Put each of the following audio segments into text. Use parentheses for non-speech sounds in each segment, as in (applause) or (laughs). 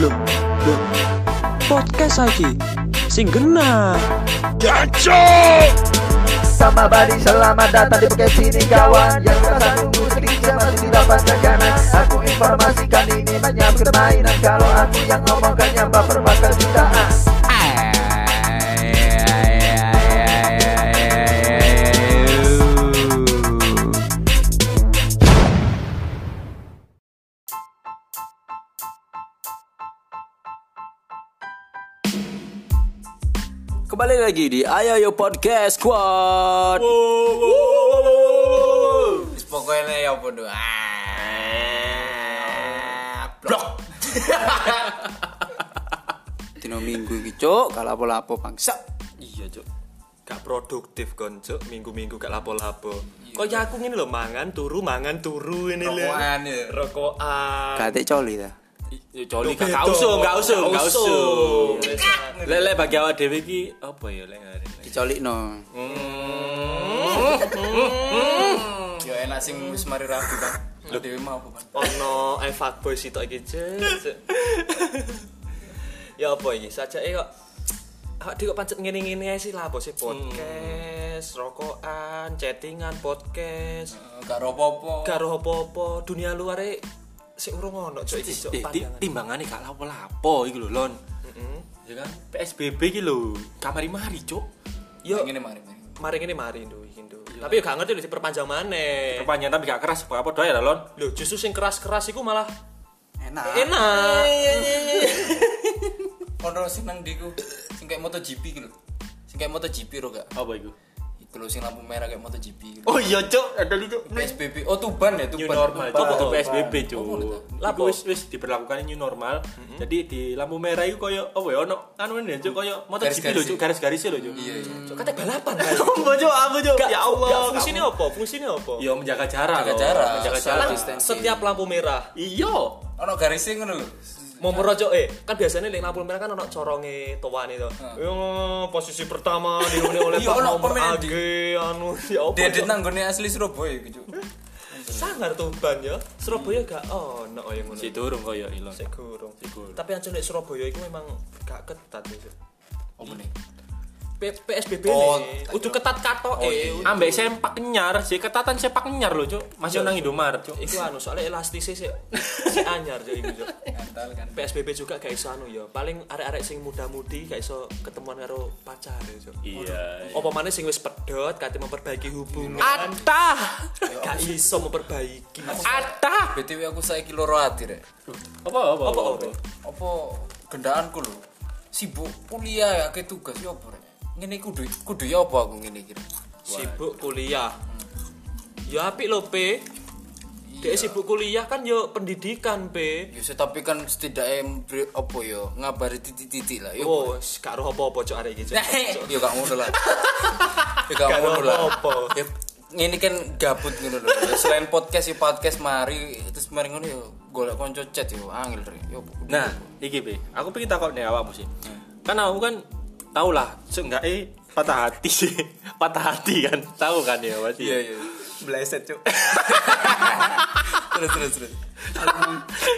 Loh, loh, podcast lagi sing genah. Sama Badi selamat datang di podcast ini kawan Yang merasa tunggu seketika masih di dapat tekanan Aku informasikan ini menyambut permainan Kalau aku yang ngomongkan yang baper bakal jutaan Kembali lagi di Ayo Yo Podcast Squad. Wis pokoknya ya apa doa. Ah, Blok. (laughs) Dino Minggu iki, Cuk, gak lapo-lapo bangsa. Iya cuk Gak produktif kon cuk Minggu-minggu gak lapo-lapo Iya. Kaya aku ngene lho mangan turu mangan turu ini lho Rokokan ya. Rokokan Gatek coli ta. Ya coli Loh, gak beda. usum, gak usum, Gitu. Gak gak usum. usum. Lek lek bagi awak dhewe iki apa ya lek ngene. Dicolikno. Hmm. Ya enak sing wis mari ragu kan. Dewi mau apa kan? Ono eh fuckboy sitok iki cuk (laughs) Cuk. Ya apa iki sajake kok Awak dhewe kok pancet ngene-ngene ae sih lah bose Hmm. podcast, rokokan, chattingan podcast. Eh, Gak ropopo. Gak roh apa-apa, dunia luar e sik urung ono cuk iki cuk Eh, ti- pandangan. timbangane gak lapo-lapo iki lho, Lon. Ya kan? PSBB iki lho, kamari mari, Cuk. Yo Ya, Ngene mari mari. mari ngene mari ndu iki ndu. Tapi yo gak ngerti lho diperpanjang maneh. Perpanjang tapi gak keras apa apa doa ya, Lon. Lho justru sing keras-keras iku malah Enak. enak. Ono sing nang diku sing kayak MotoGP gitu. Sing kayak MotoGP ro gak? Apa iku? Iku lho sing lampu merah kayak MotoGP. Oh iya, Cuk. Ada lho, Cuk. PSBB. Oh Tuban ya, New Tuban. normal, Cuk. Tuban. Apa PSBB, Cuk. Apa lho, Cuk? Lah wis wis diberlakukan new normal. Jadi di lampu merah iku koyo apa ya ono anu ya, Cuk, koyo MotoGP lho, Garis-garis. Cuk, garis-garis lho, Cuk. Iya, iya. Cuk. Kata balapan (laughs) kan. Apa, Cuk? Apa, Cuk? Gak- Ya gak, Allah. Fungsinya apa? Fungsinya apa? Ya menjaga jarak. Jaga Lon. jarak. Menjaga Salah. jarak. Lah, distensi. setiap lampu merah Iya. Ono garisnya ngono lho. mau merojok eh kan biasanya lek lampu merah kan ono coronge tuan itu. Yo posisi pertama dihuni oleh Iya, Pak ono Nomor pemain di- AG anu ya apa. Dedit Cuk? nanggone asli Surabaya iku, Cuk. Hmm? Sangar Tuban ya. Surabaya gak ono yang ngono. Si turun koyo ilon. Sik gurung. gurung. Tapi ancen nek Surabaya iku memang gak ketat ya. Cuk. Apa nih? P- PSBB Oh, nih. Udah ketat katok Oh, eh. iya. Ambek sempak kenyar, si ketatan sempak kenyar loh, Cuk. Masih nang Indomaret, Cuk. Iku anu soalnya elastisnya sih si anyar Cuk, iku, Cuk. Kental kan. PSBB juga gak iso anu ya. Paling arek-arek sing muda-mudi gak iso ketemuan karo pacar ya, Cuk. Iya. Apa maneh sing wis pedot kate memperbaiki hubungan. Atah, Gak iso memperbaiki. atah. BTW aku saiki loro ati rek. Apa apa Apa apa? Apa gendaanku lho. Sibuk kuliah ya akeh tugas ya apa rek. Ngene kudu kudu ya apa aku ngene iki. Rek? Sibuk kuliah. Ya apik lho, P. Dek sibuk kuliah kan yo pendidikan, P. Ya sih, tapi kan setidaknya memberi apa ya ngabari titik-titik lah. Ya Oh, apa? gak roh apa-apa cok arek iki. Cuk. Cuk. (laughs) Ya gak ngono lah. Ya gak Gak ngono lah. apa-apa. Ya, Ini kan gabut ngono lho. Ya, Selain podcast ya podcast mari terus mari ngono ya golek kanca chat ya angel rek. Ya apa? Nah, iki Be. Aku pengen takut nih awakmu sih. Kan aku kan tau lah, seenggak eh patah hati sih. (laughs) patah hati kan. Tahu kan ya pasti. iya iya. Bleset, Cuk. Terus terus terus.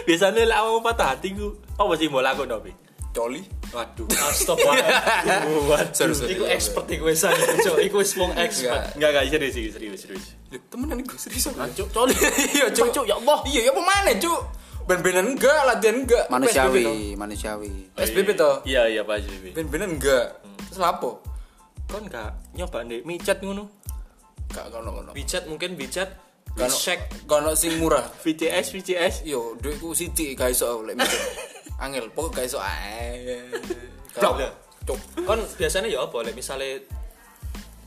Biasanya lah awakmu patah hati ku. Apa sih mau lakukan Be? Coli. (laughs) Waduh. (laughs) Astagfirullah. Sorry sorry. Iku expert iku wis aja, Cuk. Iku wis wong expert. Enggak enggak serius serius serius. serius. Loh, temenan gue serius aku. Cuk, coli. (laughs) Iya, Cuk. Ah, Cuk, ya Allah. Iya, ya apa mana, Cuk? Ben-benan enggak, latihan enggak. PSBB Manusiawi, manusiawi. toh. PSBB toh. Iya iya Pak SBB. Ben-benan enggak. Terus lapo? Kon gak nyoba nih micet ngono. Enggak kono-kono. Bicat mungkin bicat. Kono Cek kono sing murah. VCS VCS Yo, duitku sithik gak iso aku (laughs) lek mikir. Angel, pokok gak iso ae. Blok. Kalau- Cuk. kon biasanya ya apa lek misale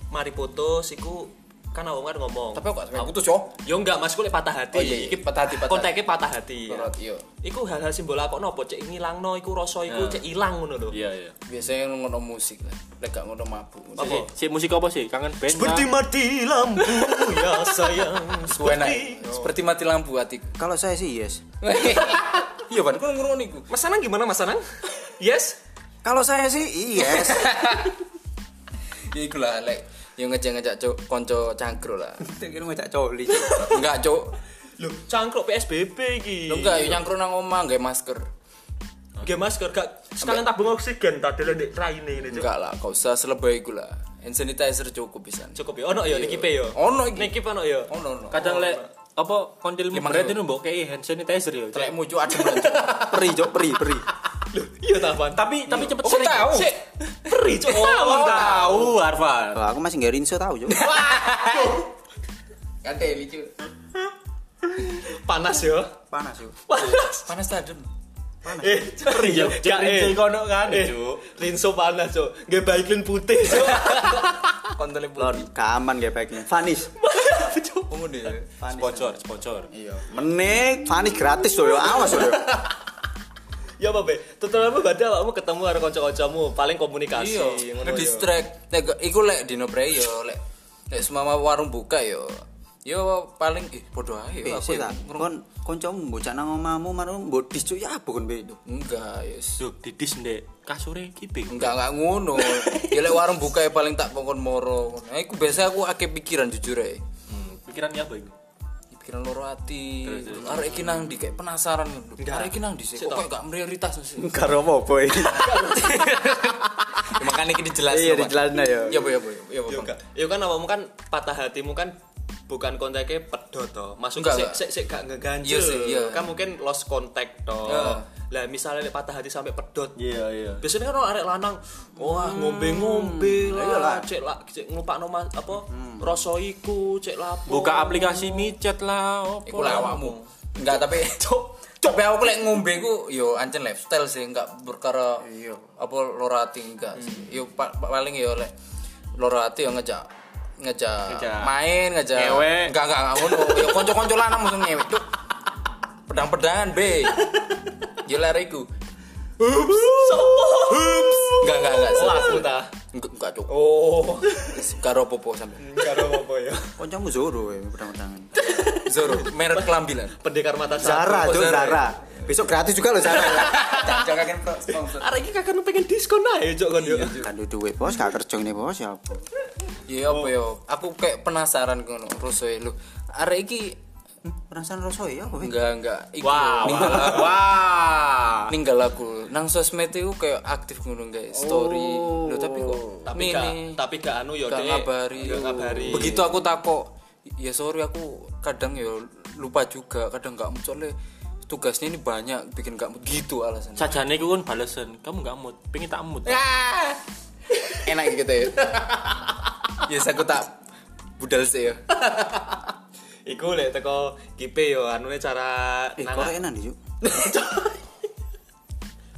mari putus iku kan awak kan ngomong Tapi aku gak sampe putus, yo. yo enggak mas iku lek patah hati Oh, iya, iya. Iki Patah hati, patah konteknya patah hati ya. Menurut yo. iku hal-hal simbol apa nopo cek ngilangno iku rasa iku Nah. Ya. cek ilang ngono lho Iya iya. Biasanya ngono musik lah. Lek gak ngono mabuk. Apa? Si, si musik apa sih? Kangen band. Nah. kah? mati lampu ya sayang Suwena. Seperti mati lampu hatiku. Kalau saya sih yes. (laughs) Iya, Ban, kono ngrungokno iku. Mas Anang gimana Mas (laughs) Anang? Yes? Kalau saya sih yes. Iku Ya (laughs) lah lek yo ngejak-ngejak cuk kanca cangkruk lah. Kira ngajak coli. Enggak, Cuk. Loh, cangkruk PSBB iki. Lu enggak yo nyangkru nang omah nggak masker. Nggih masker gak sekalian tabung oksigen tak delok ndek raine ngene Cuk. Enggak lah, kau usah selebay iku lah. Hand sanitizer cukup pisan. Cukup ya. Ono ya niki pe ya. Iya. Ono iki. Niki ono ya. Ono ono. kadang lek apa kontilmu Gimana, berat Cuk? itu mbok kayak hand sanitizer ya Cuk. telekmu cuk adem (laughs) Cuk. peri cuk peri peri. Iya ta, Pan. tapi tapi cepet Oh, sering tahu. Sik. Peri cuk. tahu Tawon, ta. tahu Arfan Wah, aku masih nggak rinso tahu cuk. Kan Dewi cuk. Panas ya. Panas cuk. Panas. Panas tak adem. Eh, peri ya. Gak eh. kono kan Eh, Cuk. Rinso panas cuk. Nggih baiklin putih cuk. Kontele putih. Lon, kaman gepeknya. Vanis. Cuk. Ungu deh. sponsor sponsor Iya. Menik, Vanis gratis loh, ya. awas loh. ya. Ya apa, Be? Tutulanmu berarti awakmu ketemu karo kanca-kancamu, paling komunikasi Iya. ngono Ke ya. distract. Nek iku lek dino pre yo lek lek semama warung buka yo. Yo paling eh bodoh ae Eh, yo, aku sik, yo tak. ngerung- Kon kancamu bocah nang omahmu maru mbodis cuk ya bukan be itu. Enggak, yes. Duh, didis ndek kasure kipi. Enggak enggak ngono. Ya lek warung buka ya paling tak pokon moro. Nah, iku biasa aku akeh pikiran jujur ae. Pikirannya apa ini? Pikiran loro ati. Arek iki nang ndi kayak penasaran ngono. Arek iki nang ndi sih? Kok kayak enggak prioritas sih. Enggak romo boy. Ya, Makanya iki dijelasin. (laughs) Iya Pak. dijelasin ya. Ya apa ya apa ya apa, Yo Bang. kan, yo kan awakmu kan patah hatimu kan bukan kontaknya pedo to. Maksudnya Enggak, sik sik sik enggak. gak Iya ngeganjel. sih, iya. Kan mungkin lost contact to. Ya. Lah misalnya lek patah hati sampai pedot. ya. Iya, iya. Biasanya kan orang arek lanang wah Hmm. ngombe-ngombe lah, Iyalah. cek lah cek nglumpakno mas- apa rasa iku, cek lapo. Buka aplikasi micet lah, Iku opo lah awakmu. Enggak tapi (laughs) Tapi aku lek ngombe ku yo ancen lifestyle sih enggak berkara apa lora ati enggak sih. Yo pa- pa- paling yo lek lora ati yo ngejak ngejak Ngejak. main ngejak Ngewe. enggak enggak enggak ngono. Yo kanca-kanca lanang mesti ngewe. Cuk. Pedang-pedangan be. Yo lari ku. Enggak enggak enggak. Lah, serius. aku ta. Enggak enggak cuk. (laughs) Oh, Karo popo sampe. enggak ada apa ya. Kancamu Zoro ya, pedang-pedangan. Zoro, merek kelambilan. Pendekar mata Zara satu. cuk, Zara. Zara. Besok gratis juga loh (laughs) Zara. Jangan kan sponsor. Arek iki kakak pengen diskon ae cok kon (laughs) yo. Kan duwe duit bos, gak kerja ini bos ya. apa? Iya apa ya? Aku kayak penasaran ngono Rosoe lu. Arek iki Hmm, Perasaan rasa ya apa? enggak enggak iku Wah, ninggal, wah, wah. ninggal aku. Nang sosmed itu kayak aktif ngono guys, story. Loh, tapi kok Tapi ini- gak tapi gak anu yo Dek. gak ngabari. Gak ngabari. Begitu aku takok, ya sorry aku kadang ya lupa juga, kadang nggak munculnya tugasnya ini banyak bikin nggak gitu alasannya. Sajane iku kan balesan, kamu gak mood, pengen tak mood. Eh, Enak gitu ya. ya yes, aku tak budal sih ya. Iku lek teko kipe yo anune cara Eh, kok nang enak nih cuk.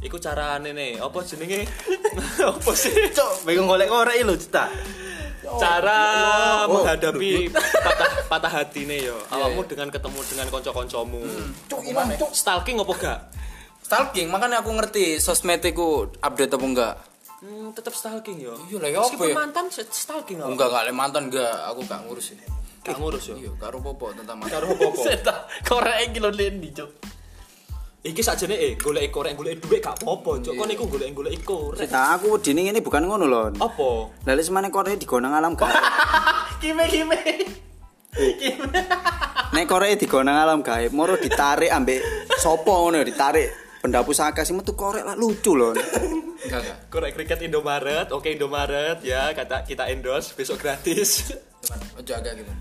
iku carane ne apa jenenge? (laughs) apa sih? Cok, bingung golek korek lho, cita. Cara Oh, menghadapi patah patah hatine yo. Awakmu dengan ketemu dengan kanca-kancamu. Cuk, Hmm, ilang, cuk. Stalking apa gak? Stalking, makanya aku ngerti sosmed iku update apa enggak. Hmm, tetep stalking yo. Iya lah, ya apa Meskipun ya? mantan se- stalking Oh, apa? Enggak, enggak le mantan enggak, aku enggak ngurus ini. Gak ngurus yo. Iya, karo popo tentang mantan. Karo apa-apa. Korek iki lho lendi, Cok. Iki sajane eh golek korek golek duit gak apa-apa, Cok. Kon iku golek-golek korek. Nah, aku wedine ini bukan ngono lho. Apa? Lalu semane korek digonang alam gaib. Kime kime. Nek korek digonang alam gaib, moro ditarik ambek sopo ngono ya, ditarik. Benda pusaka sih metu korek lah lucu lho. Enggak, enggak. Korek kriket Indomaret, oke Indomaret ya, kata kita endorse besok gratis. Cuman ojo agak gitu.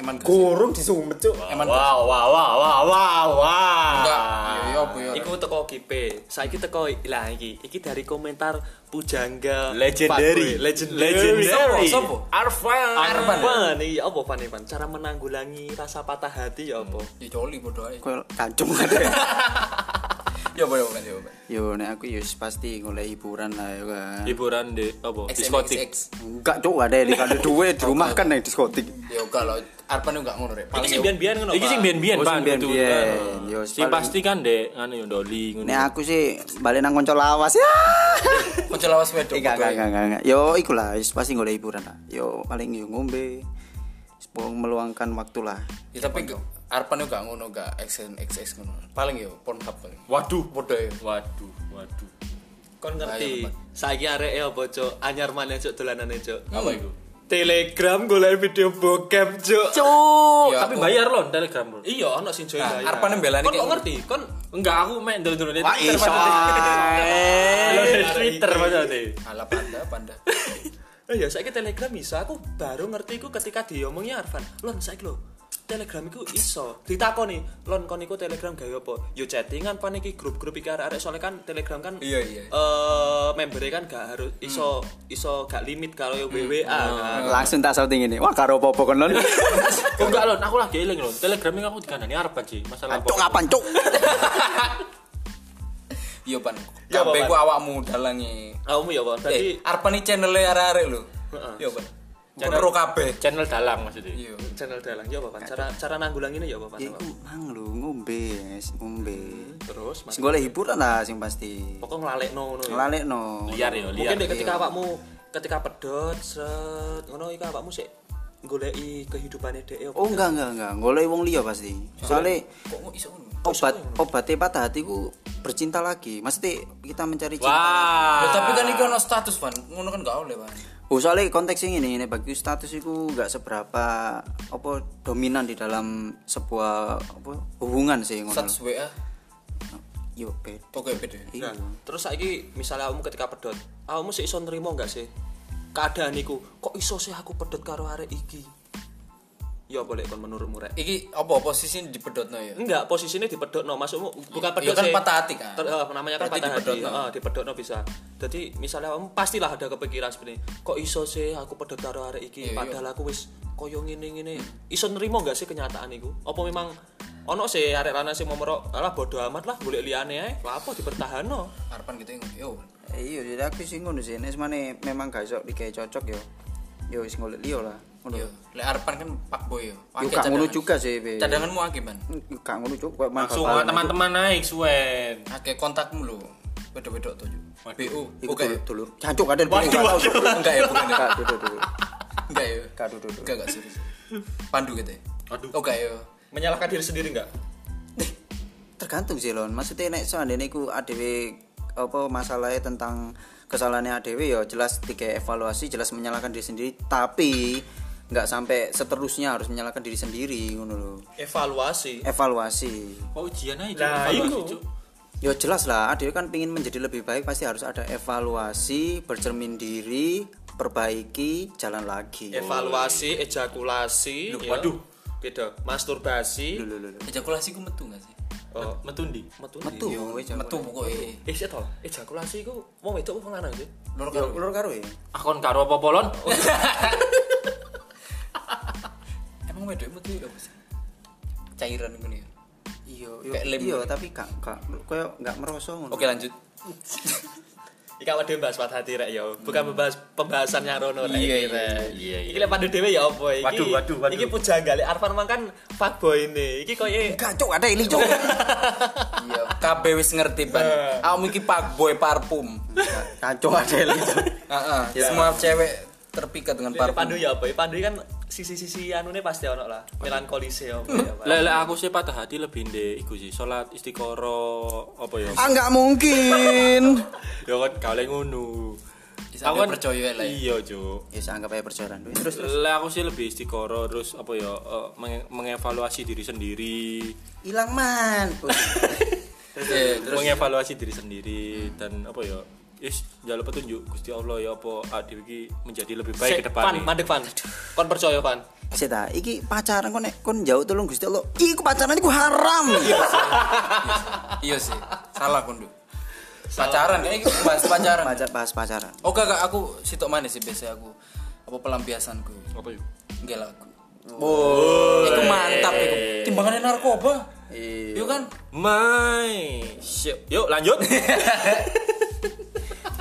Eman gas. Gurung disumet cuk. Eman gas. Wah, wah, wah, wah, wah, wah. Enggak. Iya, iya, apa ya? Iku teko Kipe. Saiki teko lah iki. Iki dari komentar Pujangga. Legendary. Fuckboy. Legendary. Legendary. Sopo, sopo? Arfan. Arvan. Arvan. Arvan. Iya apa Van Ivan? Cara menanggulangi rasa patah hati ya apa? Ya joli bodoh ae. Kok kancung ada. Ya boleh boleh ya boleh. Yo nek aku yo pasti golek hiburan lah ya kan. Hiburan di apa? Diskotik. Diskotik. Enggak cuk ada ini kalau duit di rumah kan nang diskotik. Ya kalau Arpan itu enggak ngono rek. Iki Paling sing ya- biyen-biyen (laughs) ngono. Iki sing biyen-biyen, Oh, sing Pan, biyen-biyen. betul-betul. Yo, Sing paling- Nah. pasti kan dek anu yo doli ngono. Nek aku sih balik nang konco lawas ya. Konco lawas wedok. Enggak bodoh enggak ae. enggak enggak, enggak. Yo iku lah wis pasti golek hiburan lah. Yo paling yo ngombe. Sepong meluangkan waktu lah. Ya tapi Arpan itu enggak ngono enggak XN XX ngono. Paling ya Pornhub paling. Waduh, Bodoh ya. waduh, waduh. Kon ngerti. Saiki arek e apa, Cok? Anyar maneh Cok dolanane, Cok. Apa itu? Telegram golek video bokep, Cuk. Cuk. Ya, Tapi aku- bayar loh Telegram, Bro. Iya, ono sing join Nah, bayar. arepane mbelani Kon kayak- kok ngerti? Kon Enggak, aku main dulu-dulu di Wah, Twitter iso padahal. Eh, Twitter padahal deh. Ala panda panda. Eh ya saiki Telegram iso. Aku baru ngerti iku ketika diomongnya Arfan. Lon saiki lho, Telegram iku iso. Ditakoni, "Lon kon iku Telegram gawe apa?" Yo chattingan pan iki grup-grup iki arek-arek soalnya kan Telegram kan Iya, iya. Hmm. Eh membernya kan gak harus iso iso gak limit kalau yo WWA Ah. kan. Langsung tak shouting ini. Wah, karo popo kon lon. Oh, enggak loh, aku lagi eling loh. Telegram ini aku dikandani harapan sih, masalah Cuk apa. kapan cuk? Iya pan. Ya, apa, Kabeh Pan? ku awakmu dalangi. Kamu ya, Bon. Berarti Eh, arepane channel-e arek-arek lho. Iya pan. Channel kabeh. Channel dalang maksudnya. Iya. channel dalang ya, Bapak. Cara cara nanggulanginnya ya, Bapak. Iku Iya, mang lu ngombe, wes, ngombe. Terus Sing golek hiburan lah sing pasti. pokoknya ngelalekno ngono ya. Lalekno. Liar ya, liar. Mungkin deh ketika awakmu ketika pedot set ngono iku awakmu sik goleki kehidupane dhek Oh enggak enggak enggak, golek wong liya pasti. Soalnya Kok ngo- iso ngono? obat obatnya patah hatiku bercinta lagi. Maksudnya kita mencari cinta. Wah. Loh, tapi kan iki ono status pan. Ngono kan gak oleh pan. Oh, soalnya konteks yang ini, ini bagi status itu nggak seberapa apa dominan di dalam sebuah apa hubungan sih ngono. Status WA. Yo bed. Oke, beda. Iya. terus saiki misalnya awakmu ketika pedot awakmu sik iso nrimo enggak sih keadaan iku kok iso sih aku pedot karo arek iki ya boleh kon menurutmu rek Iki apa posisi dipedotno ya? enggak posisinya dipedokno maksudmu bukan Iya pedot kan sih. patah hati kan? Ter- eh, namanya kan Berarti patah hati dipedokno. Heeh, dipedokno bisa jadi misalnya kamu pastilah ada kepikiran seperti ini, kok iso sih aku pedot karo arek iki Iya, iya. padahal aku wis koyo ngene ngene iso nerimo gak sih kenyataan iku apa memang ono sih arek lanang sing mau merok alah bodo amat lah golek liyane ae lah apa dipertahanno Arpan gitu yang yo. Eh, Iya, jadi aku sih ngono sih. Nek semane memang gak iso dikai cocok yo. Yo wis golek liya lah. Ngono. Yo, lek Arpan kan Pak Boy yo. Yo Akeh gak ngono cadangan. juga sih, Be. Cadanganmu akeh pan. Gak ngono juga, Bang. Langsung Bakal- teman-teman naik suwen. Akeh kontakmu lho. Wedok-wedok tuh. BU. Iku Oke. dulu- dulu. Jancuk ada di Waduh, waduh. Enggak ya, bukan ya. Enggak, dulu dulu. (laughs) Enggak ya. Enggak dulu dulu. Enggak enggak serius. Pandu gitu ya. Aduh. Oke ya. menyalahkan diri sendiri enggak tergantung sih lon maksudnya nek seandainya ku adewe apa masalahnya tentang kesalahannya adewe ya jelas tiga evaluasi jelas menyalahkan diri sendiri tapi nggak sampai seterusnya harus menyalahkan diri sendiri ngono lho. evaluasi evaluasi Kok ujian aja Lah, evaluasi, iya. iku. Cuk? ya jelas lah adewe kan pingin menjadi lebih baik pasti harus ada evaluasi bercermin diri perbaiki jalan lagi evaluasi ejakulasi ya. waduh. beda masturbasi Lho, lho, lho. Ejakulasi ku metu enggak sih? oh, Metundi. metu metu Iya, Metu pokoke. Eh sih toh, ejakulasi ku mau itu wong lanang sih. Lur Ya, karo. lur karo ya Akon karo apa polon? Emang wedok metu ya apa sih? Cairan ngene. ya? iya Kayak lem. iya tapi gak gak koyo gak merasa ngono Oke, lanjut. Ika wadah bahas patah hati rek yo, bukan membahas pembahasan yang rono rek. iki, Iya, iya, rek. Hmm. iya, iya. Iki lek pandu dhewe ya apa iki? Waduh, waduh, waduh. Iki pujanggale Arfan mangkan fuckboy ini. Iki ya koyo Gak, Cuk, ada ini cuk (laughs) Iya, kabeh wis ngerti pan. Eh. Awakmu iki Pak Boy parfum. Kacau (laughs) ada ini Heeh. Iya. Semua cewek terpikat dengan Lek parfum. pandu ya apa? Pandu kan sisi-sisi anune pasti ono lah. Melankolise ya apa ya. Pak. Lah lah aku sih patah hati lebih ndek iku sih salat istiqoro apa ya? Ah nggak mungkin. Ya kan kale ngono. Bisa ambil percaya lah ya. Iya, Cuk. ya saya anggap aja perjalanan dulu. Terus Lah aku sih lebih istiqoro terus apa ya eh, menge- mengevaluasi diri sendiri. hilang man. Iya, terus mengevaluasi diri sendiri dan apa ya is jalur petunjuk gusti allah ya apa adik iki menjadi lebih baik ke Sik, depan Pan, mandek Pan. Kon percaya Pan. Saya tak, iki pacaran kok nek kon jauh tolong gusti allah. Iku pacaran iku haram. iya sih. Salah kondu. Pacaran kayak gitu, (laughs) bahas pacaran. Pacar bahas pacaran. Oh gak, gak aku sitok manis sih biasa aku. Apa pelampiasanku? apa yuk Nggak lagu. Oh, itu mantap itu. Timbangannya narkoba. Iya kan? my shit. yuk lanjut (laughs)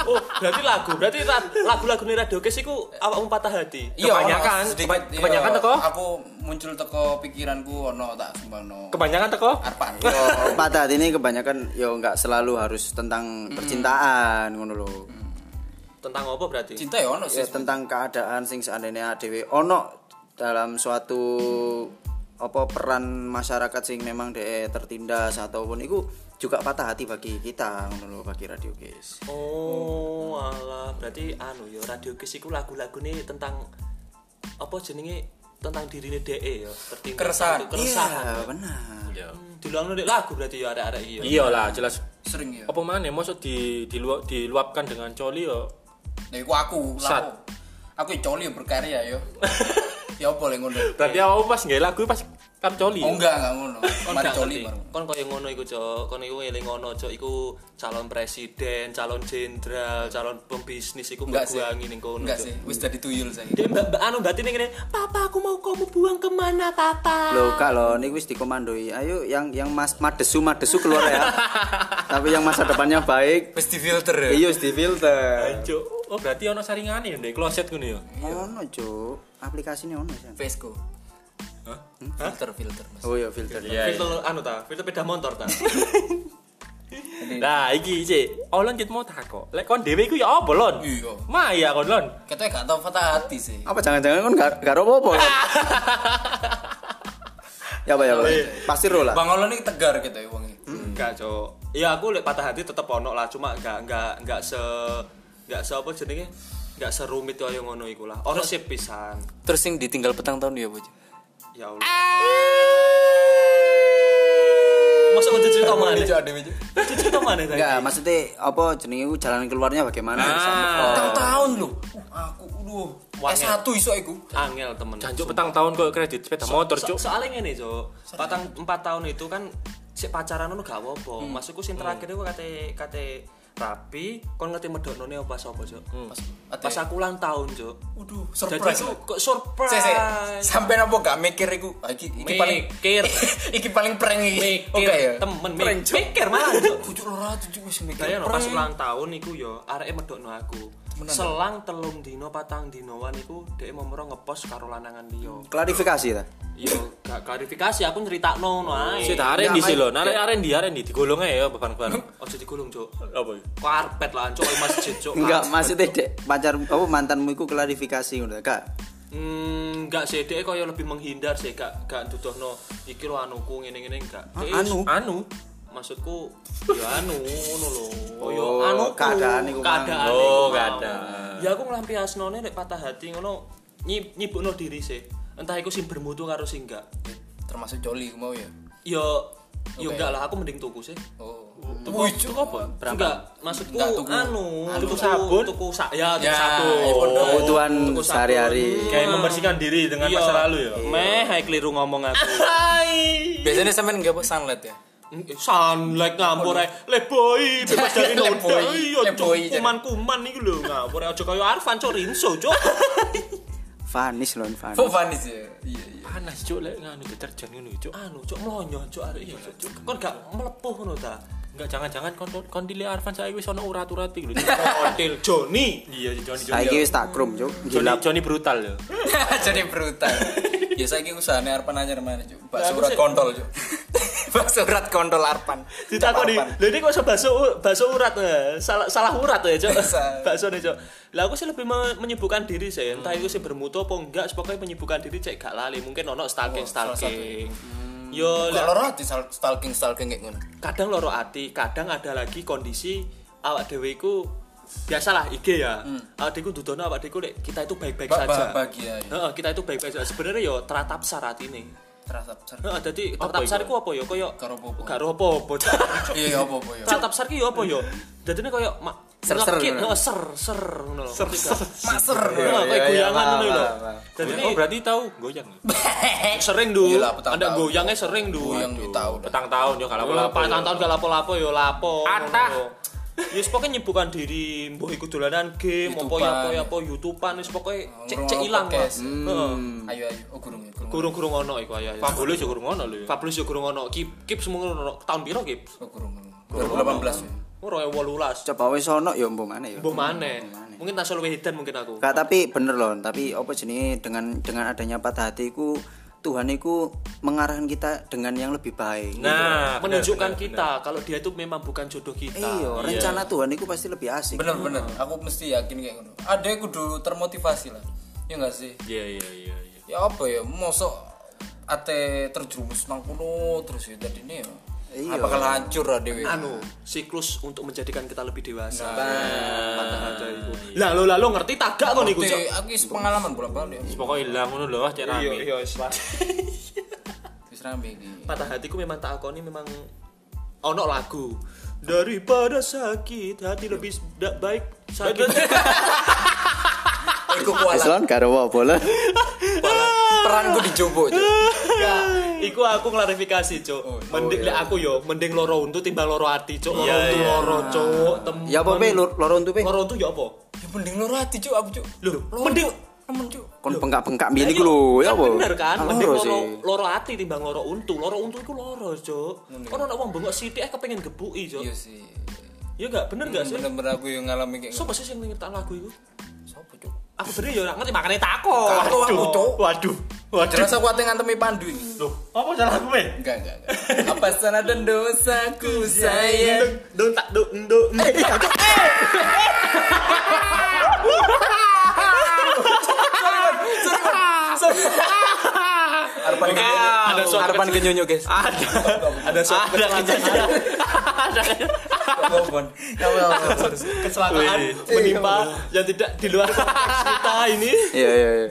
Oh, berarti lagu. Berarti ra- lagu-lagune Radio Kes iku awakmu patah hati. Iya, Kebanyakan, Iya, ono iya. keba- kebanyakan teko? Aku muncul teko pikiranku ono tak sumbangno. kebanyakan teko Arpan. Iya. Yo, patah hati ini kebanyakan yo nggak selalu harus tentang percintaan ngono lho. Tentang apa berarti? Cinta ya ono sih. Ya tentang keadaan sing seandainya dhewe ono dalam suatu apa peran masyarakat sing memang de tertindas ataupun iku juga patah hati bagi kita ngono lho bagi radio guys. Oh, alah berarti anu ya Radio Kiss iku lagu-lagune tentang apa jenenge tentang dirine DE ya, tertinggal Keresahan. keresahan. Iya, benar. Iya. Diluangno nek lagu berarti ya arek-arek iki ya. Iyalah jelas sering ya apa mana maksud di, dilua- diluapkan dengan coli ya nah iku aku Sat. lah aku ya coli ya berkarya (laughs) yo ya apa yang ngono berarti awal pas nggak lagu pas kan coli (laughs) oh enggak enggak ngono Kon mari gak coli ngerti. baru Kon koyo ngono iku, Cok. Kon iku eling ngono, Cok. Iku calon presiden, calon jenderal, calon pembisnis iku enggak mbok sih buangi ning kono. enggak Cok. sih wis jadi tuyul saya Dia mbak mbak anu berarti ning ngene, "Papa, aku mau kamu buang kemana, Papa?" Loh kak lo, ini wis dikomandoi. Ayo yang yang mas madesu madesu keluar ya. Tapi yang masa depannya baik. wis difilter ya Iya, di filter. Cuk. oh berarti ono saringan ya di kloset gini ya Ono cuk, aplikasinya ono San. Vesco Hmm? filter filter mas Oh iya filter. Filter anu ta, filter sepeda motor ta. nah iki cek oh lon kita mau takok lek kon dewe iku ya apa lon Iya. maya kon lon kita gak tau patah hati sih Apa jangan-jangan kan gak gak apa-apa? kan? ya apa ya apa? Pasti ro lah. bang Olon ini tegar gitu ya wangi Enggak, Cok. Ya aku lek patah hati tetep ono lah, cuma enggak enggak enggak se enggak se apa jenenge? Enggak serumit koyo ngono iku lah. Ono sip pisan. terus yang ditinggal petang tahun ya bojo Ya Allah. Masuk untuk cerita mana? Cerita mana tadi? Enggak, maksudnya apa jenenge iku jalan keluarnya bagaimana? Ah. Ah. petang tahun loh aku aduh Wangi. S1 iso aku Angel temen. Janjuk petang tahun kok kredit sepeda motor So- cuk. soalnya ngene, Cuk. Patang 4 tahun itu kan si pacaran lu gak apa-apa. Masukku sing terakhir iku kate kate rapi, kon ngerti medoknone apa sapa, Cuk. Pas, Ate- pas aku ulang tahun, Cuk. Waduh, Jadi surprise. aku Jadi, kok surprise. Sese, sampai nopo gak mikir iku. Ah, Iki, iki paling Mikir. (laughs) iki paling prank mikir iki. Oke ya. temen mi- Prank, Cuk. mikir malah Cuk. Bujuk lora tujuh wis mikir. Bayang no, pas prank. ulang tahun iku yo areke medokno aku. Temenan, Selang telung dino patang dinoan iku dhek momoro ngepost karo lanangan liya. Klarifikasi ta. Yo gak klarifikasi aku nyeritakno ngono ae. Si tarik iya, di silo, narik aren di aren di digolong ae ya (laughs) beban-beban. Ojo digulung, Cuk. Apa? ya? Karpet lah, Cuk, Ayo masjid, Cuk. Enggak, Karpet, maksudnya Cuk. dek pacar apa mantanmu iku klarifikasi ngono Kak. Hmm, enggak sih, dhek koyo lebih menghindar sih, gak gak duduhno iki lo anuku ngene-ngene enggak. Ah, Dhek Anu. Anu. maksudku yo anu ngono lho koyo Oh, anu keadaan iku, Mang. keadaan Oh, iku, Mang. keadaan. ya aku nglampiasnone nek patah hati ngono nyi- nyibukno diri sih entah iku sing bermutu karo sing enggak Termasuk Joli mau ya. yo yo ya Oke. enggak lah aku mending tuku sih Oh. tuku apa enggak maksudku Enggak, tuku. anu Anu. tuku sabun tuku sa ya tuku Ya, sabun iPhone dong. Oh. Kebutuhan Tuku sabun. sehari-hari. eh, Ya, Kayak membersihkan diri dengan Iya. masa lalu ya. meh hai keliru ngomong aku Biasanya sampean enggak apa sunlight ya. Hmm, Sunlight ngawur ae. Le boy, bebas dari (laughs) Le noda. boy, Iya, le Cuk. boy, jadi. kuman-kuman iku lho ngawur ae. aja kaya Arfan cuk Rinso cuk. Vanis lho, Vanis. Oh, Vanis ya. Iya, iya. (laughs) Panas cuk lek nganu deterjen ngono cuk. Anu cuk mlonyo cuk arek iki cuk. Kon gak melepuh ngono ta. Enggak jangan-jangan kon kon dile Arfan saya wis ono urat-urat iki lho. (laughs) Kontil. Joni. Iya Joni Joni. Saiki wis tak krum, Cuk. Joni Iya. Gila. Joni brutal ya. Jadi brutal. Ya saiki usahane Arpan anyar mana, Cuk. Mbak Lah, Ya, aku surat sih- kontol, (laughs) Cuk. Mbak surat kontol Arpan. Ditakoni, Arpan. lho ini kok iso bakso bakso urat eh? salah salah urat ya cuk. Bisa. Bakso nih cuk. Lah aku sih lebih me- menyibukkan diri sih. Entah iku sih bermutu apa enggak, pokoknya menyibukkan diri cek gak lali. Mungkin ono salah satu Hmm. stalking-stalking. Yo, Kalau lora di stalking stalking kayak ngono. kadang loro ati, kadang ada lagi kondisi awak dhewe iku biasalah IG ya. Awak dhewe iku dudono awak dhewe iku lek kita itu baik-baik Hmm. Ba- saja. ba- bahagia, ya. Heeh, kita itu baik-baik saja. Sebenarnya yo teratap sarat ini. Terasa besar. Heeh, dadi teratap iku? sar iku apa yo koyo Karo apa-apa. Karo (laughs) apa-apa. Iya, apa-apa ya. Teratap sar ki yo apa yo? Dadine koyo mak Ser-ser ngekit, ngono. Iya, heeh, ser ser ngono lho. Ser ser. Maser. Kayak goyangan paham, ngono lho. paham, paham. Dadi Oh berarti tahu goyang. ya? sering du. Iyalah, petang Anda tahun. goyangnya sering du. Goyang di tahun. Oh, Petang tahun yo kalau Lapo-lapo. lapo tahun gak lapo-lapo yo lapo. Atah. ngono. Yus pokoknya nyibukkan diri, mbuh ikut dolanan game, apa Youtuban. ya apa ya apa youtuban wis pokoknya cek cek Ngono-ngono ilang lah. podcast. Heeh. Ayo ayo, oh gurung ya, gurung. Gurung-gurung ono iku ayo ayo. Boleh yo kurang ngono lho. ya. Fabulous yo gurung ono. Kip kip semua ono tahun piro kip? Oh gurung. Gurung 18 ya. 2018. Coba wis ono ya mbok mana ya. Mbuh maneh. Mungkin tak solo wedan mungkin aku. Kak, tapi bener loh, tapi apa jenenge dengan dengan adanya patah hati iku Tuhan iku mengarahkan kita dengan yang lebih baik. Nah, bener, Menunjukkan bener, kita kalau dia itu memang bukan jodoh kita. Iya, rencana Tuhan itu pasti lebih asik. Bener bener, aku mesti yakin kayak ngono. Ada yang kudu termotivasi lah. Ya enggak sih? bener. Iya iya iya iya. Ya apa ya, mosok ate terjerumus nang kono terus ya tadi ini ya. Iya. bakal hancur lah dewe anu siklus untuk menjadikan kita lebih dewasa. Nah, patah hati itu. Lah lo lah lo ngerti tagak kok niku, Cok. Te- aku is pengalaman bolak balik Pokoknya hilang ngono lho ah cek Iya, rame. iya, wis, Pak. wis rame iki Patah hatiku memang tak akoni memang ono lagu. Daripada sakit hati lebih tidak baik sakit. iku kualan Eslon gak apa bola. peranku dijobok Cuk. Enggak, (laughs) iku aku klarifikasi, Cok. Oh, Iya, mending lek aku yo mending loro untu timbang loro ati, Cok. Loro untu loro, Cok. Temen. Ya apa pe lor- loro untuk pe? Loro untu ya apa? ya mending lo hati cuk aku cuk Loh, mending temen cuk Kon bengkak-bengkak mbiyen iku lho, ya apa? Kan bener kan, Ah, mending loro loro, sih. loro ati timbang loro untu. Loro untu iku loro, Cuk. Ono nek wong bengok sithik eh kepengin gebuki, Cuk. iya sih Ya enggak, bener enggak sih? bener-bener aku yang ngalami kayak Sopo sih sing ngerti lagu iku? sopo cuk Aku sendiri ya ora ngerti makane takon. Karo aku, Cuk. Waduh. jelas aku ati ngantemi pandu ini Loh, apa salah aku, Pe? enggak enggak enggak. apa salah dan dosaku Eh, iya. sayang Dun tak dun (laughs) dun. harapan genyonyo Ada suara harapan genyonyo guys Ada. Ada suatu kecelakaan. Telepon. Kecelakaan menimpa yang tidak di luar (laughs) konteks kita ini. Iya iya iya.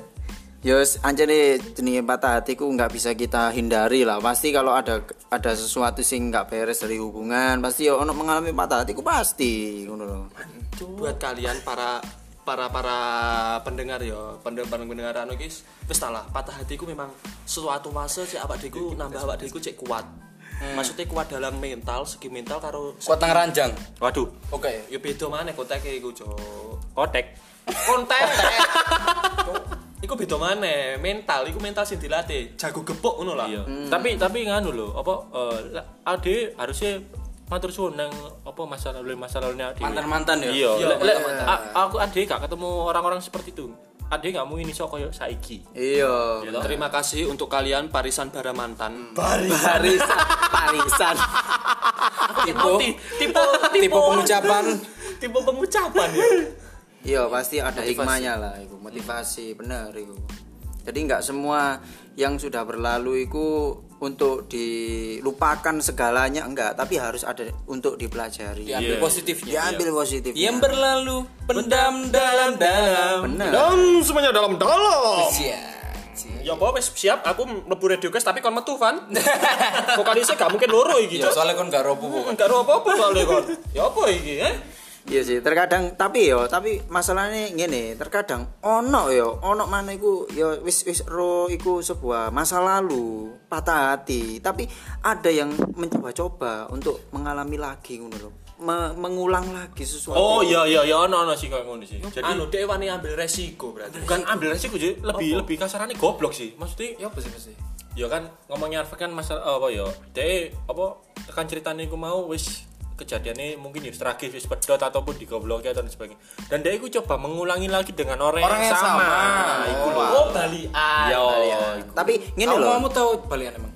Ya anjene jenenge patah hati ku nggak bisa kita hindari lah. Pasti kalau ada ada sesuatu sing nggak beres dari hubungan, pasti ya ono mengalami patah hati ku pasti ngono lho. Buat kalian para para para pendengar ya pendengar pendengar anu guys wis ta lah patah hatiku memang sesuatu fase cek awak deku nambah awak deku cek kuat maksudnya kuat dalam mental segi mental karo kuat tangan ranjang Waduh, oke ya beda mana kontak iku cok kotek. (laughs) konten iku beda mana mental iku mental sing dilatih jago gepuk ngono lah Iya. Hmm. Tapi tapi nganu lho, apa eh, la- ade harusnya matur suwun nang apa masa lalu masa lalu ade. Mantan-mantan ya? Iya, Iya, le- le- mantan-mantan. a- aku ade gak ketemu orang-orang seperti itu. Ade gak mungkin iso koyo saiki. Iya. terima kasih untuk kalian barisan bara mantan Barisan, barisan. tipe tipe tipe pengucapan tipe pengucapan ya Iya pasti ada hikmahnya lah itu motivasi bener itu. Jadi nggak semua yang sudah berlalu itu untuk dilupakan segalanya enggak, tapi harus ada untuk dipelajari. diambil positifnya Iya. Diambil positifnya. yang berlalu pendam dalam-dalam bener. Nah. dan semuanya dalam dalam Sia, sia. ya apa wes siap aku mlebu radio guys tapi kon metu (laughs) kan vokalisnya gak mungkin loro iki Cok. Ya soalnya kan gak robo kok. gak ada apa-apa soalnya kon (laughs) ya apa iki eh Iya sih, terkadang tapi yo, tapi masalahnya gini, terkadang ono yo, ono mana iku yo wis wis ro iku sebuah masa lalu, patah hati, tapi ada yang mencoba-coba untuk mengalami lagi ngono lho. Me- mengulang lagi sesuatu. Oh iya iya iya ono ono sih koyo ngono sih. Jadi anu dewa nih ambil resiko Hmm, berarti bukan ambil resiko jadi lebih lebih kasarannya goblok sih. Maksudnya Ya apa sih apa sih? ya kan ngomongnya Arfa kan masalah apa ya dia apa tekan ceritanya aku mau wis kejadiannya mungkin ya tragis wis pedot ataupun digobloki atau dan sebagainya dan dia itu coba mengulangi lagi dengan orang, Orang yang sama. Nah, iku lho. oh balian ya tapi gini Kamu loh. kamu tahu balian emang?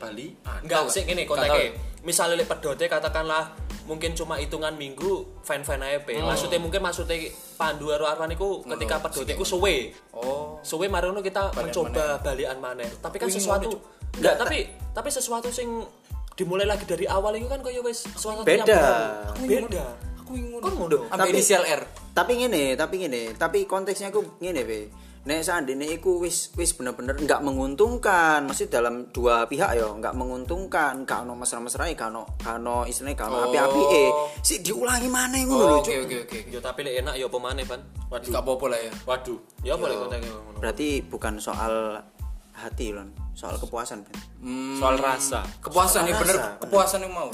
Bali Ah, Enggak, sih gini kontaknya. Nggak Misalnya lek pedote katakanlah mungkin cuma hitungan minggu fan fan aja pe. Maksudnya mungkin maksudnya Pandu karo Arwan iku ketika pedote iku suwe. Oh. Suwe mari ngono kita mencoba balian maneh. Tapi kan Wingi sesuatu ngono, enggak tapi tapi sesuatu sing dimulai lagi dari awal itu kan kaya wis sesuatu yang Beda. baru. Beda. Aku ingin Kan ngono. Ambil Tapi- inisial R. Tapi gini, tapi gini, tapi konteksnya aku gini be. Nek seandainya iku wis wis bener-bener nggak menguntungkan, mesti dalam dua pihak ya, nggak menguntungkan, nggak ono mesra-mesra, nggak ono nggak ono istilahnya nggak ono api-api eh, si diulangi mana ngono lho, Oh, Cuk. Oke oke oke. Yo tapi lek enak yo apa maneh, Pan? Waduh. Gak apa-apa lah ya. waduh Yo apa lek kontaknya ngono. Berarti bukan soal hati lon, soal kepuasan. Ben. Hmm, soal rasa kepuasan ya Soal bener rasa, Hmm. bener. kepuasan yang mau.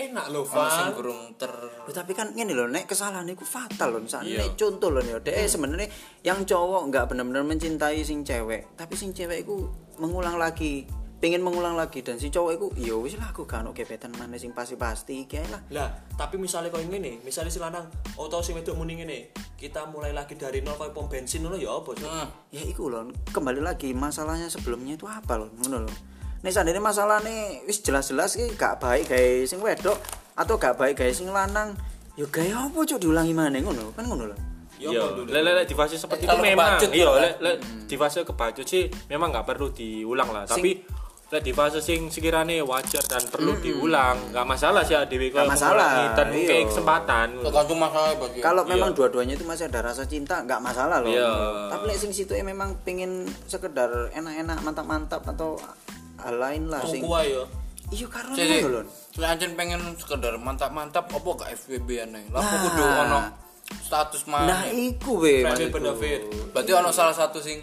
Enak lho, Ono sing Van. gurung ter Loh, tapi kan gini loh, nek kesalahan itu fatal loh. Misalnya nek contoh loh, deh sebenarnya yang cowok nggak benar-benar mencintai sing cewek, tapi sing cewek itu mengulang lagi, pengen mengulang lagi dan si cowok itu, ya wis lah aku gak ono gebetan mana sing pasti-pasti kayak lah. Lah, tapi misalnya kau ngene, misalnya si lanang, oh tau si wedok muni ngene, kita mulai lagi dari nol kau pom bensin dulu ya apa sih? Hmm. Ya iku loh, kembali lagi masalahnya sebelumnya itu apa loh, ngono loh. Nek seandainya masalah nih, wis jelas-jelas ki gak baik guys sing wedok atau gak baik guys sing lanang, ya gaya apa cok diulangi mana ngono, kan ngono loh. Iya, apa dulu? lek lek- lek di fase seperti itu Kalau memang kebacut, iya kan? lek lek di fase kebacut sih memang nggak perlu diulang lah, tapi Lek di fase sing sekiranya wajar dan perlu diulang, nggak Hmm. masalah sih dhewe koyo Nggak masalah, mengulangi dan iya. mungkin kesempatan. tergantung masalah bagi kalau memang dua-duanya itu masih ada rasa cinta nggak masalah loh Iya. tapi lek sing situ memang pengen sekedar enak-enak mantap-mantap atau hal lain lah sing Kuah yo. iya karena jadi itu loh saya anjir pengen sekedar mantap-mantap apa gak FWB aneh lah aku Nah. kudu ono status mana nah iku be Friendly maksudku. benefit. berarti ono salah satu sing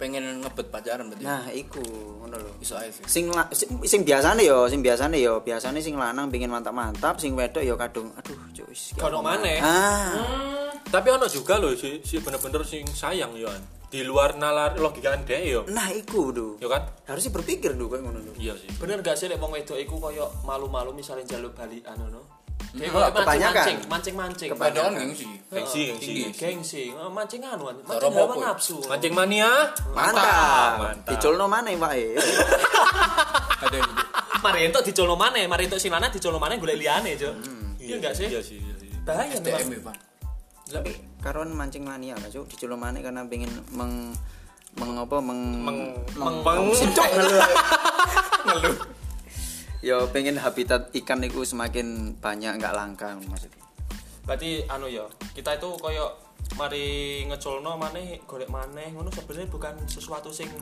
pengen ngebet pacaran berarti nah iku ngono lho iso ae sih sing la- sing, sing biasane yo sing biasane yo biasane sing lanang pengen mantap-mantap sing wedok yo kadung aduh cuk wis ki Kono apa maneh. maneh. ah Tapi ono juga loh si, si bener-bener sing sayang yo. An. Di luar nalar logika dhek yo. nah iku duh Yo kan? harusnya berpikir duh kayak ngono duh Iya sih. Bener gak sih lek wong wedok iku koyo malu-malu misalnya jaluk balikan ngono. Dia Hmm, koyo kebanyakan. mancing-mancing, mancing-mancing. padahal kan gengsi Oh, Gengsi, gengsi. Gengsi, Oh, mancing anu kan. Gak Mancing apa-apa. lawan nafsu. Mancing ah. mania. mantap Mantap. dicolno maneh Pak ya ada yang (laughs) mari entuk dicolo maneh, mari entuk sing lanang dicolo maneh golek liyane, Cuk. Iya gak sih? Iya sih, iya sih. Bahaya DM memang. Ivan tapi karuan mancing mania lah cuk diculum mania karena pengen meng meng apa meng meng meng, meng- Sincok, (laughs) ngeluh ngeluh ya pengen habitat ikan itu semakin banyak nggak langka maksudnya Berarti anu ya, kita itu koyo mari ngecolno maneh, golek maneh ngono sebenarnya bukan sesuatu sing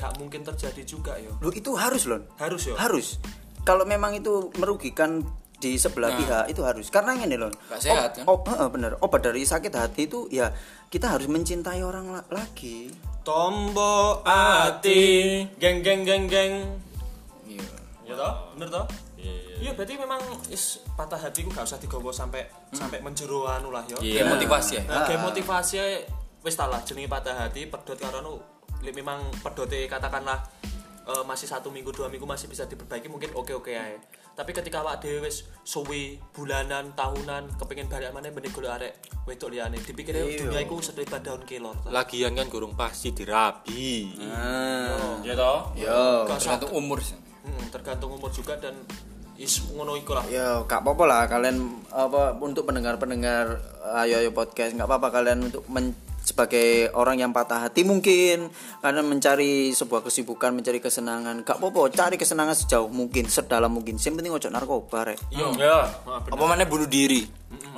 gak mungkin terjadi juga ya. lu itu harus loh Harus ya. harus kalau memang itu merugikan di sebelah pihak itu harus karena ini loh Nggak sehat, kan? Ob- heeh, bener obat dari sakit hati itu ya kita harus mencintai orang la- lagi Tombo ati geng geng geng geng. iya Ya toh? Bener toh? Iya, berarti memang is patah hati ku gak usah digowo sampai sampai menjero anu lah yo. Kayak motivasi ya Nah, kayak motivasi ae, wis ta lah jenenge patah hati pedot karo anu li- memang pedote katakanlah eh, masih satu minggu dua minggu masih bisa diperbaiki mungkin oke oke aja tapi ketika awak dhewe wis suwi bulanan tahunan kepengin balik maneh mending golek arek wedok liyane dipikir dunia iku sedebat daun kelor Lagian kan gurung pasti dirabi. Ah. nah, Ya toh? Iya. yo Gak usah. tergantung umur sih Mm, tergantung umur juga dan is ngono iku lah Ya, gak apa-apa lah kalian apa untuk pendengar-pendengar eh, ayo ayo podcast nggak apa-apa kalian untuk men- sebagai orang yang patah hati mungkin karena mencari sebuah kesibukan mencari kesenangan gak apa-apa cari kesenangan sejauh mungkin sedalam mungkin yang penting ojo narkoba rek Yo. Ya. Maaf, bener. apa mana bunuh diri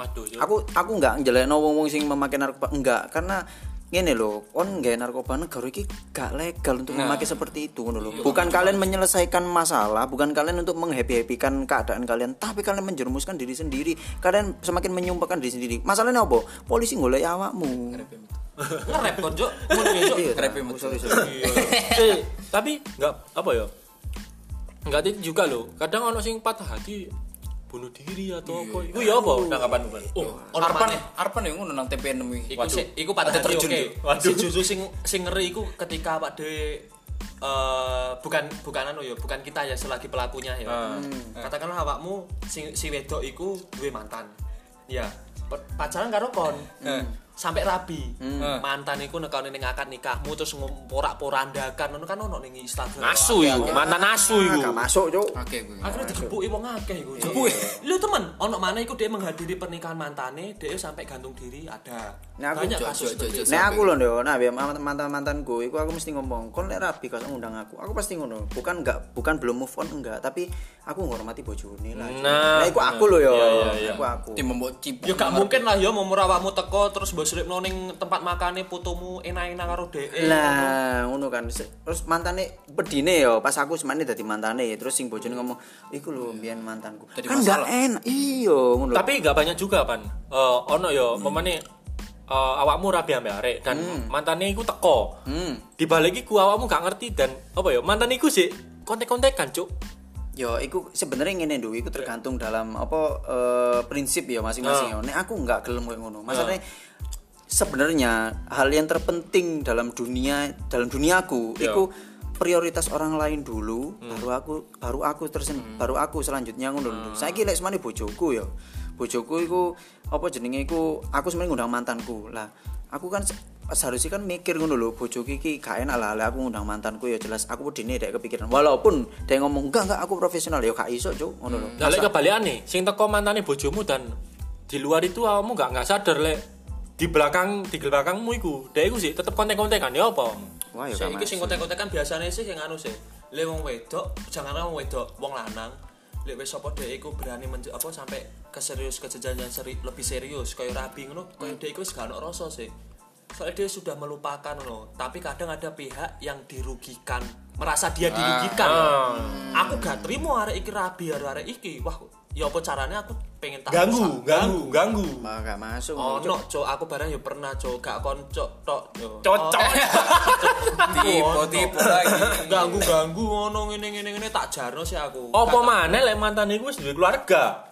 Aduh, yo. aku aku nggak njelekno wong-wong sing memakai narkoba enggak karena ngene lho kon nggak narkoba negara iki gak legal untuk memakai seperti itu ngono lho bukan kalian menyelesaikan masalah bukan kalian untuk menghappy-happykan keadaan kalian tapi kalian menjerumuskan diri sendiri kalian semakin menyumpahkan diri sendiri masalahnya apa polisi golek awakmu ngerep kon Cuk. ngono ya, Cuk. Iya, Krepe oh, metu. sorry, sorry. eh, tapi nggak apa ya nggak itu juga loh kadang ono sing patah hati bunuh diri Iya. atau apa itu ya apa tanggapan oh Ono Arpan maneh. Arpan yang ngono nang TPN nemu Iku sih, iku patah hati terjun oke. yuk. Si justru sing sing ngeri iku ketika Pak De eh bukan bukan anu ya, bukan kita ya selagi pelakunya ya. Katakanlah awakmu si, si wedok iku duwe mantan. Ya, pe- pacaran karo kon. Ah. Hmm. Sampai rabi. Ah. Mantan iku nekone ning akad nikahmu terus ngomporak-porandakan ngono kan ono ning Instagram. nasu iku Iya. mantan nasu Ah, iku Nah, gak masuk cuk oke gue Akhirnya digebuki wong akeh iku. Digebuki. Lho temen, ono mana iku dia menghadiri pernikahan mantane, dia sampai gantung diri ada. Nah, aku Banyak jok, kasus jok, jok, seperti jok. itu. Nah aku loh Ndok. nah biar mantan mantanku, iku aku mesti ngomong, kon lek rabi kau ngundang aku, aku pasti ngono. Bukan enggak, bukan belum move on enggak, tapi aku menghormati bojone lah. Nah, iku aku loh yo, Iya, iya, iya. aku aku. tim mbok cipu Ya gak mungkin lah ya mau awakmu teko terus mbok slipno ning tempat makane putumu enak-enak karo dhek. Lah, ngono kan. Se- Terus mantane bedine yo, pas aku semane dadi mantane, terus sing bojone ngomong, iku lho mbiyen mantanku. Jadi kan enggak masalah. enak. Iya, ngono. tapi nggak banyak juga pan Eh, ono yo memane eh, awakmu rabi ambek arek dan mantannya iku teko hmm. dibalik iku awakmu gak ngerti dan apa ya mantan iku sih kontek-kontekan cuk Yo, iku sebenarnya ngene Ndu, iku tergantung dalam apa eh, prinsip ya Ah. masing-masing. Nek aku nggak gelem koyo ngono. Masalahnya sebenarnya hal yang terpenting dalam dunia dalam Yo. duniaku iku prioritas orang lain dulu baru aku baru aku terus baru aku selanjutnya ngono lho. Saiki lek semane bojoku ya. Bojoku iku apa jenenge iku aku sebenarnya ngundang mantanku. Lah, aku kan se- seharusnya kan mikir ngono lho bojoku iki gak enak lah lek aku ngundang mantanku ya jelas aku wedine dek kepikiran. Walaupun dek ngomong enggak enggak aku profesional ya gak iso cuk ngono lho. Nah, lek kebalikane, sing teko mantane bojomu dan di luar itu awakmu gak nggak sadar lek di belakang di belakangmu iku. Dhek iku sih tetep kontek-kontekan ya apa? Wah ya Sing gak iki sing masuk. kontek-kontek kan biasane sih yang anu sih. le wong wedok jangan wong wedok wong lanang lek wis sapa dhek iku berani menje, apa sampai ke serius ke jenjang yang seri, lebih serius kayak rabi ngono kayak dhek iku wis gak ono rasa sih soalnya dia sudah melupakan loh tapi kadang ada pihak yang dirugikan merasa Ah. dia dirugikan aku gak terima arek iki rabi arek arek iki wah ya apa caranya aku pengen tahu Ganggu, ganggu, ganggu. Mah gak masuk. ono cok aku barang ya pernah cok gak konco tok yo Cocok. tipe tipe lagi Iya, ganggu ganggu ngono ngene ngene ngene tak jarno sih aku Apa maneh lek mantan iku wis duwe keluarga?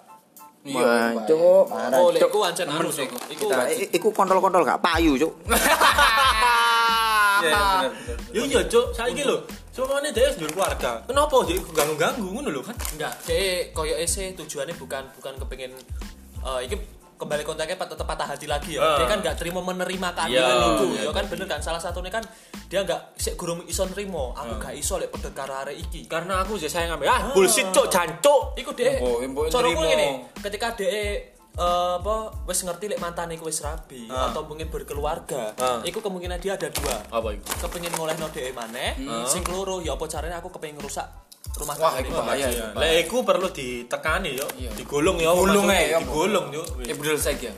Iya, Wah, cuk, parah. oh lek iku ancen anu sih sih iku iku. Nah, i- i- Iku kontol-kontol gak payu, cuk. Iya, iya, bener, bener. Yo yo cuk, saiki lho. Sumane dhewe wis duwe keluarga. Kenapa dhek iku ganggu-ganggu ngono lho kan? enggak de koyo ese tujuannya bukan bukan kepengin eh iki kembali kontaknya pat- tetap patah hati lagi ya. Ah. Dia kan nggak terima menerima keadilan Iya, itu, iya, ya kan bener kan. Salah satunya kan dia nggak sik gurung iso nrimo. Aku gak iso lek pendekar arek iki. Karena aku sih sayang ambek ah bullshit cuk jancuk. Iku deh. Mbok- mbok Coroku nerimo. ngene, ketika deh apa wis ngerti lek mantan iku wis rabi atau mungkin berkeluarga, Ah. iku kemungkinan dia ada dua. Apa iku? Kepengin ngolehno dhek maneh, Hmm. sing loro ya apa caranya aku kepengin ngerusak rumah Wah, tangga iku ini. bahaya. Iya, lek iku perlu ditekani eh, yo, Iya. digulung yo, Digulung maksudnya, ae, yo. digulung yo. Ya bener saiki ya.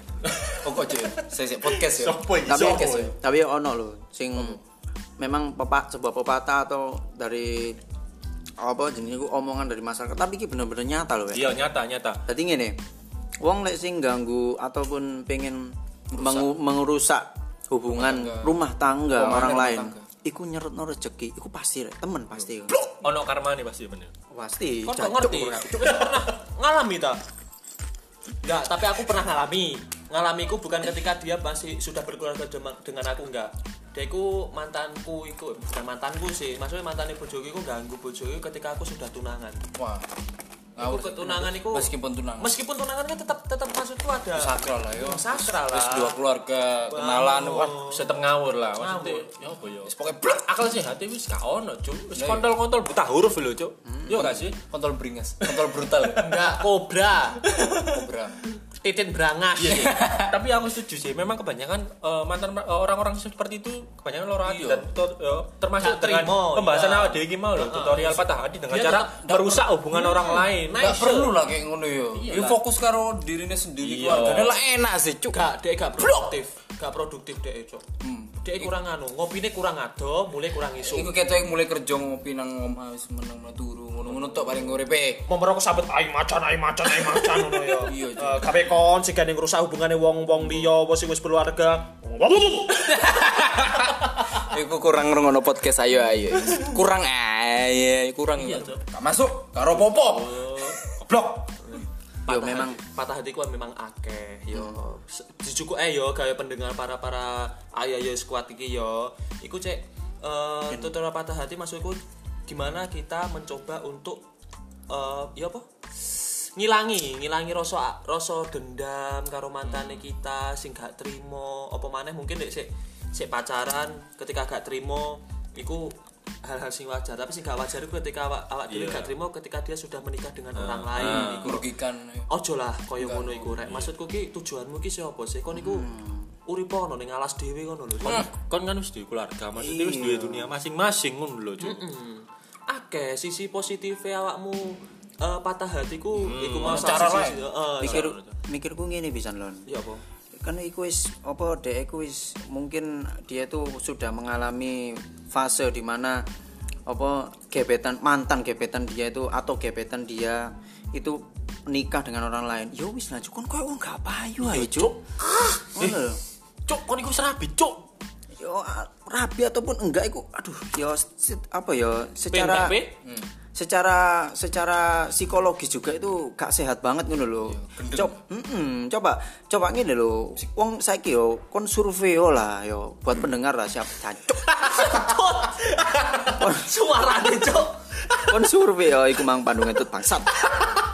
Oh kok Cuk? Saya saya podcast ya. Sopo iki? Tapi Sopo? Sopo? tapi ono lho sing memang pepa, sebuah pepatah atau dari apa jenenge iku omongan dari masyarakat tapi iki bener-bener nyata lho. Iya, nyata nyata. Tadi ngene. Wong lek sing ganggu ataupun pengen mengu- mengerusak hubungan rumah tangga Hubungan orang rumah lain. tangga. Iku nyerut no rezeki, iku pasti rek, temen pasti. Ono karmane pasti bener. Pasti. Kau jancuk gak ngerti? ora. Wis pernah ngalami ta? Enggak, tapi aku pernah ngalami. Ngalamiku bukan ketika dia masih sudah berkeluarga dem- dengan aku enggak. Dia ku mantanku iku bukan mantanku sih. Maksudnya mantannya bojoku iku ganggu bojoku ketika aku sudah tunangan. Wah. Aku Ngawur. ketunangan iku Meskipun tunangan. Meskipun tunangan kan tetap tetap maksudku ada sakral lah yo. sakral Wis dua lah. keluarga kenalan Wow. wah. Setengah ngawur lah maksudnya. Ngawur. Ya apa yo? Wis pokoke blek akal sih hati wis gak ono, cuk. Wis kontol-kontol buta huruf lho, cuk. Yo gak sih? (laughs) Kontrol beringas, kontrol brutal. Enggak kobra, Kobra. titin berangas. Iya, Tapi aku setuju sih, memang kebanyakan eh, mantan eh, orang-orang seperti itu kebanyakan loro hati Iya. dan tutor- eh, termasuk Gak dengan terima, pembahasan iya. awal dewe iki mau lho, tutorial patah hati dengan Dia cara tetap- merusak hubungan orang Hmm, lain. Enggak Nice. perlu lah kayak ngono yo. Iya Yo lah. fokus karo dirine Iya. sendiri keluargane lah enak sih cuk. Enggak, dia gak produktif. Gak produktif dia, Cok. Hmm. Dia kurang anu, ngopine kurang ado, mulai kurang isu. Iku ketok yang mulai kerja ngopi nang omah wis meneng meneng turu ngono-ngono tok paling nguripe. memerokok sabet ai macan ai macan ai macan ngono ya. Iya, Cuk. Eh, kabeh kon sing gandeng rusak hubungane wong-wong liya apa sing wis keluarga. Iku kurang ngrungokno podcast ayo ayo. Kurang ayo, kurang. Oh, Gak masuk karo popo. Blok. Yo memang patah hatiku kan memang akeh yo. Se- Dicukup eh yo gawe pendengar para-para ayo yo squad iki yo. Iku cek eh, tutorial patah hati maksudku gimana kita mencoba untuk eh ya apa? ngilangi ngilangi rasa rasa dendam karo mantane kita sing gak trimo apa maneh mungkin nek sik sik pacaran ketika gak trimo iku hal-hal sing wajar tapi sing gak wajar iku ketika awak awak dhewe gak trimo ketika dia sudah menikah dengan orang lain iku Merugikan. ojo lah kaya ngono iku Iya. rek maksudku ki tujuanmu ki sapa sih kon iku Hmm. uripe ono ning alas dhewe ngono lho Kon- Kon kan wis duwe keluarga, maksudnya wis duwe dunia masing-masing ngono lho, cuk. Hmm. akeh sisi positifnya awakmu eh, patah hatiku iku mau Hmm. cara sisi- lain. eh, mikir mikirku ngene pisan lon. ya apa kan iku wis apa dek iku wis mungkin dia tuh sudah mengalami fase di mana apa gebetan mantan gebetan dia itu atau gebetan dia itu nikah dengan orang lain yo wis lah cuk kon koyo wong gak payu ae cuk ngono lho. Cuk, kon iku serabi, cuk. yo a- rabi ataupun enggak iku aduh yo se- apa yo secara Hmm. Pin, Pin? secara secara psikologis juga itu gak sehat banget ngono lho. Coba, coba coba ngene lho. Wong saiki yo kon survei yo lah yo buat pendengar lah siap cancuk. (laughs) suarane cok kon survei yo iku mang pandungan itu bangsat.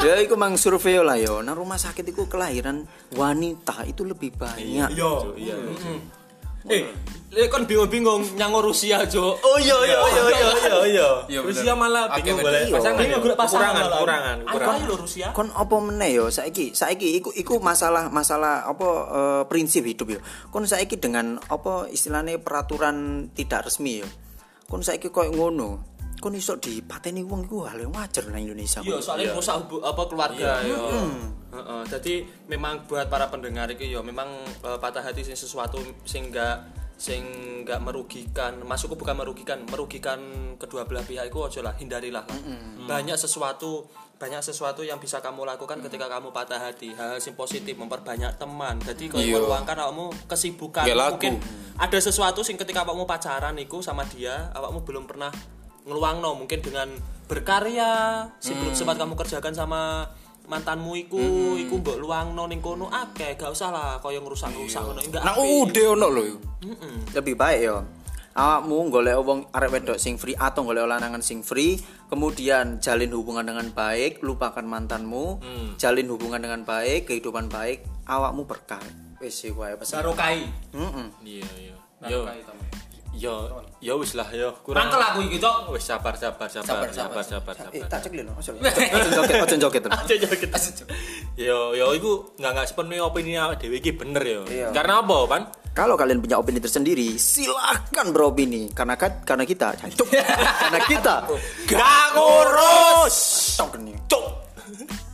Ya iku mang survei yo lah yo. Nah rumah sakit iku kelahiran wanita itu lebih banyak. Yo. Iya. Eh, lek kon bingung-bingung nyang Rusia, Jo. Oh iya iya iya iya iya iya. Iya, bener. Rusia malah Oke, bingung bener. boleh Iya. pasangan. ya? Bingung golek pasangan Kurangan, malah. kurangan, Ayo ayo kurangan. lho Rusia. kon apa meneh yo saiki saiki iku iku masalah masalah apa eh, prinsip hidup yo kon saiki dengan apa istilahnya peraturan tidak resmi yo kon saiki koyo ngono kon iso dipateni wong iku hal yang wajar nang Indonesia. Iya, kon. soalnya rusak hubu- apa keluarga Iya, yo. Heeh, jadi memang buat para pendengar itu yo memang eh, patah hati sing sesuatu sing enggak sing enggak merugikan, masukku bukan merugikan, merugikan kedua belah pihak itu aja lah, hindarilah. lah. Banyak sesuatu banyak sesuatu yang bisa kamu lakukan ketika kamu patah hati hal sing positif memperbanyak teman jadi kalau Iya. meluangkan awakmu kesibukan Nggak laku. mungkin ada sesuatu sing ketika awakmu pacaran iku sama dia awakmu belum pernah ngeluangno mungkin dengan berkarya sing belum sempat kamu kerjakan sama mantanmu iku iku mbok luangno ning kono akeh gak usah lah kaya ngerusak-rusak ngono enggak Nang apik. ude ono lho. yo. (laughs) lebih baik yo awakmu golek wong arek wedok sing free atau golek lanangan sing free kemudian jalin hubungan dengan baik lupakan mantanmu jalin hubungan dengan baik kehidupan baik awakmu berkah wis iku ae pesan Sarokai. Mm-mm. Iya, iya. Yo. Yo, yo wis lah yo. Kurang. Mangkel aku iki, Oh, Cok. Wis sabar sabar sabar sabar sabar eh sabar. tak cek lho ojo ojo joget ojo joget lho. Yo yo iku enggak enggak sepenuhnya opini awake dhewe iki bener yo. Iya. Karena apa, Pan? kalau kalian punya opini tersendiri silahkan beropini karena kat- karena kita cuk. karena kita Gak ngurus. tok nih Cuk.